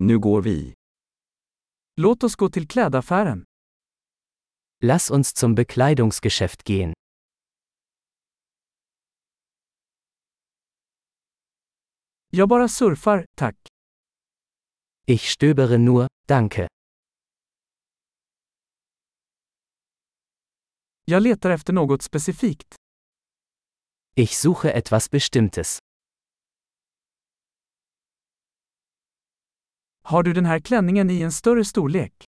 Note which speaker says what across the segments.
Speaker 1: Nu går vi.
Speaker 2: Låt oss gå till klädaffären.
Speaker 3: Lass uns zum Bekleidungsgeschäft gehen.
Speaker 2: Jag bara surfar, tack.
Speaker 3: Ich stöbere nur, danke.
Speaker 2: Jag letar efter något specifikt.
Speaker 3: Ich suche etwas Bestimmtes.
Speaker 2: Har du den här klänningen i en större storlek?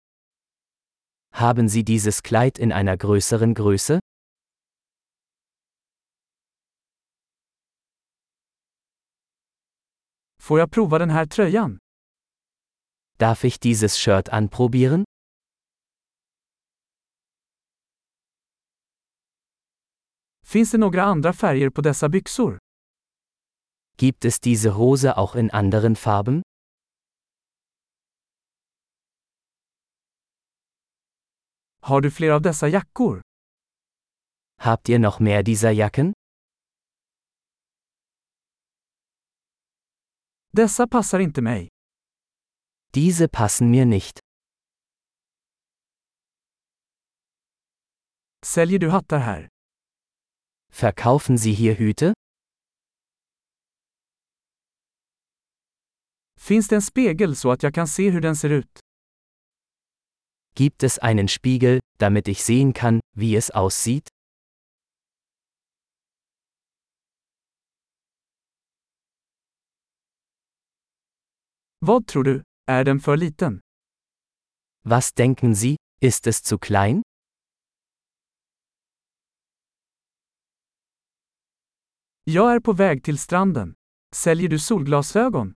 Speaker 3: Haben Sie dieses Kleid in einer größeren Größe?
Speaker 2: Får jag prova den här tröjan?
Speaker 3: Darf ich dieses Shirt anprobieren?
Speaker 2: Finns det några andra färger på dessa byxor?
Speaker 3: Gibt es diese Hose auch in anderen Farben?
Speaker 2: Har du fler av dessa jackor?
Speaker 3: Habt ihr noch mehr dieser Jacken?
Speaker 2: Dessa passar inte mig.
Speaker 3: Diese passen mir nicht.
Speaker 2: Säljer du hattar här?
Speaker 3: Verkaufen Sie hier Hüte?
Speaker 2: Finns det en spegel så att jag kan se hur den ser ut?
Speaker 3: Gibt es einen Spiegel, damit ich sehen kann, wie es aussieht?
Speaker 2: Vad tror du? Är den för liten?
Speaker 3: Was denken Sie, ist es zu klein?
Speaker 2: Jag är på väg till stranden. Säljer du solglasögon?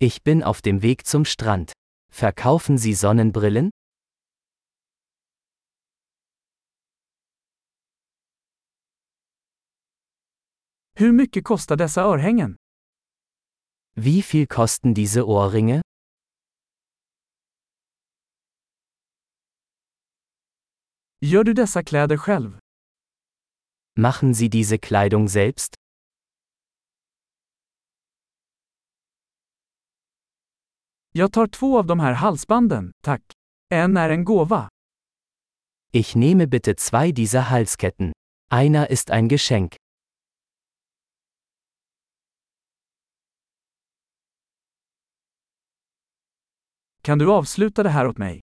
Speaker 3: Ich bin auf dem Weg zum Strand. Verkaufen Sie Sonnenbrillen?
Speaker 2: Hur mycket kostar dessa örhängen?
Speaker 3: Wie viel kosten diese Ohrringe?
Speaker 2: Gör du dessa kläder själv?
Speaker 3: Machen Sie diese Kleidung selbst?
Speaker 2: Jag tar två av de här halsbanden, tack. En är en gåva.
Speaker 3: Ich nehme bitte zwei dieser Halsketten. Einer ist ein Geschenk.
Speaker 2: Kan du avsluta det här åt mig?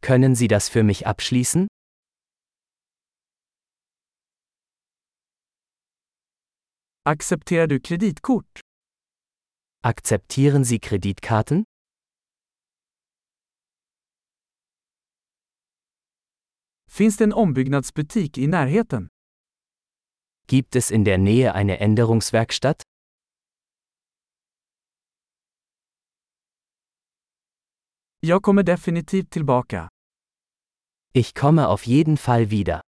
Speaker 3: Können Sie das für mich abschließen?
Speaker 2: Accepterar du kreditkort?
Speaker 3: Akzeptieren Sie Kreditkarten?
Speaker 2: Finns det en ombyggnadsbutik i närheten?
Speaker 3: Gibt es in der Nähe eine Änderungswerkstatt?
Speaker 2: Jag kommer definitivt tillbaka.
Speaker 3: Ich komme auf jeden Fall wieder.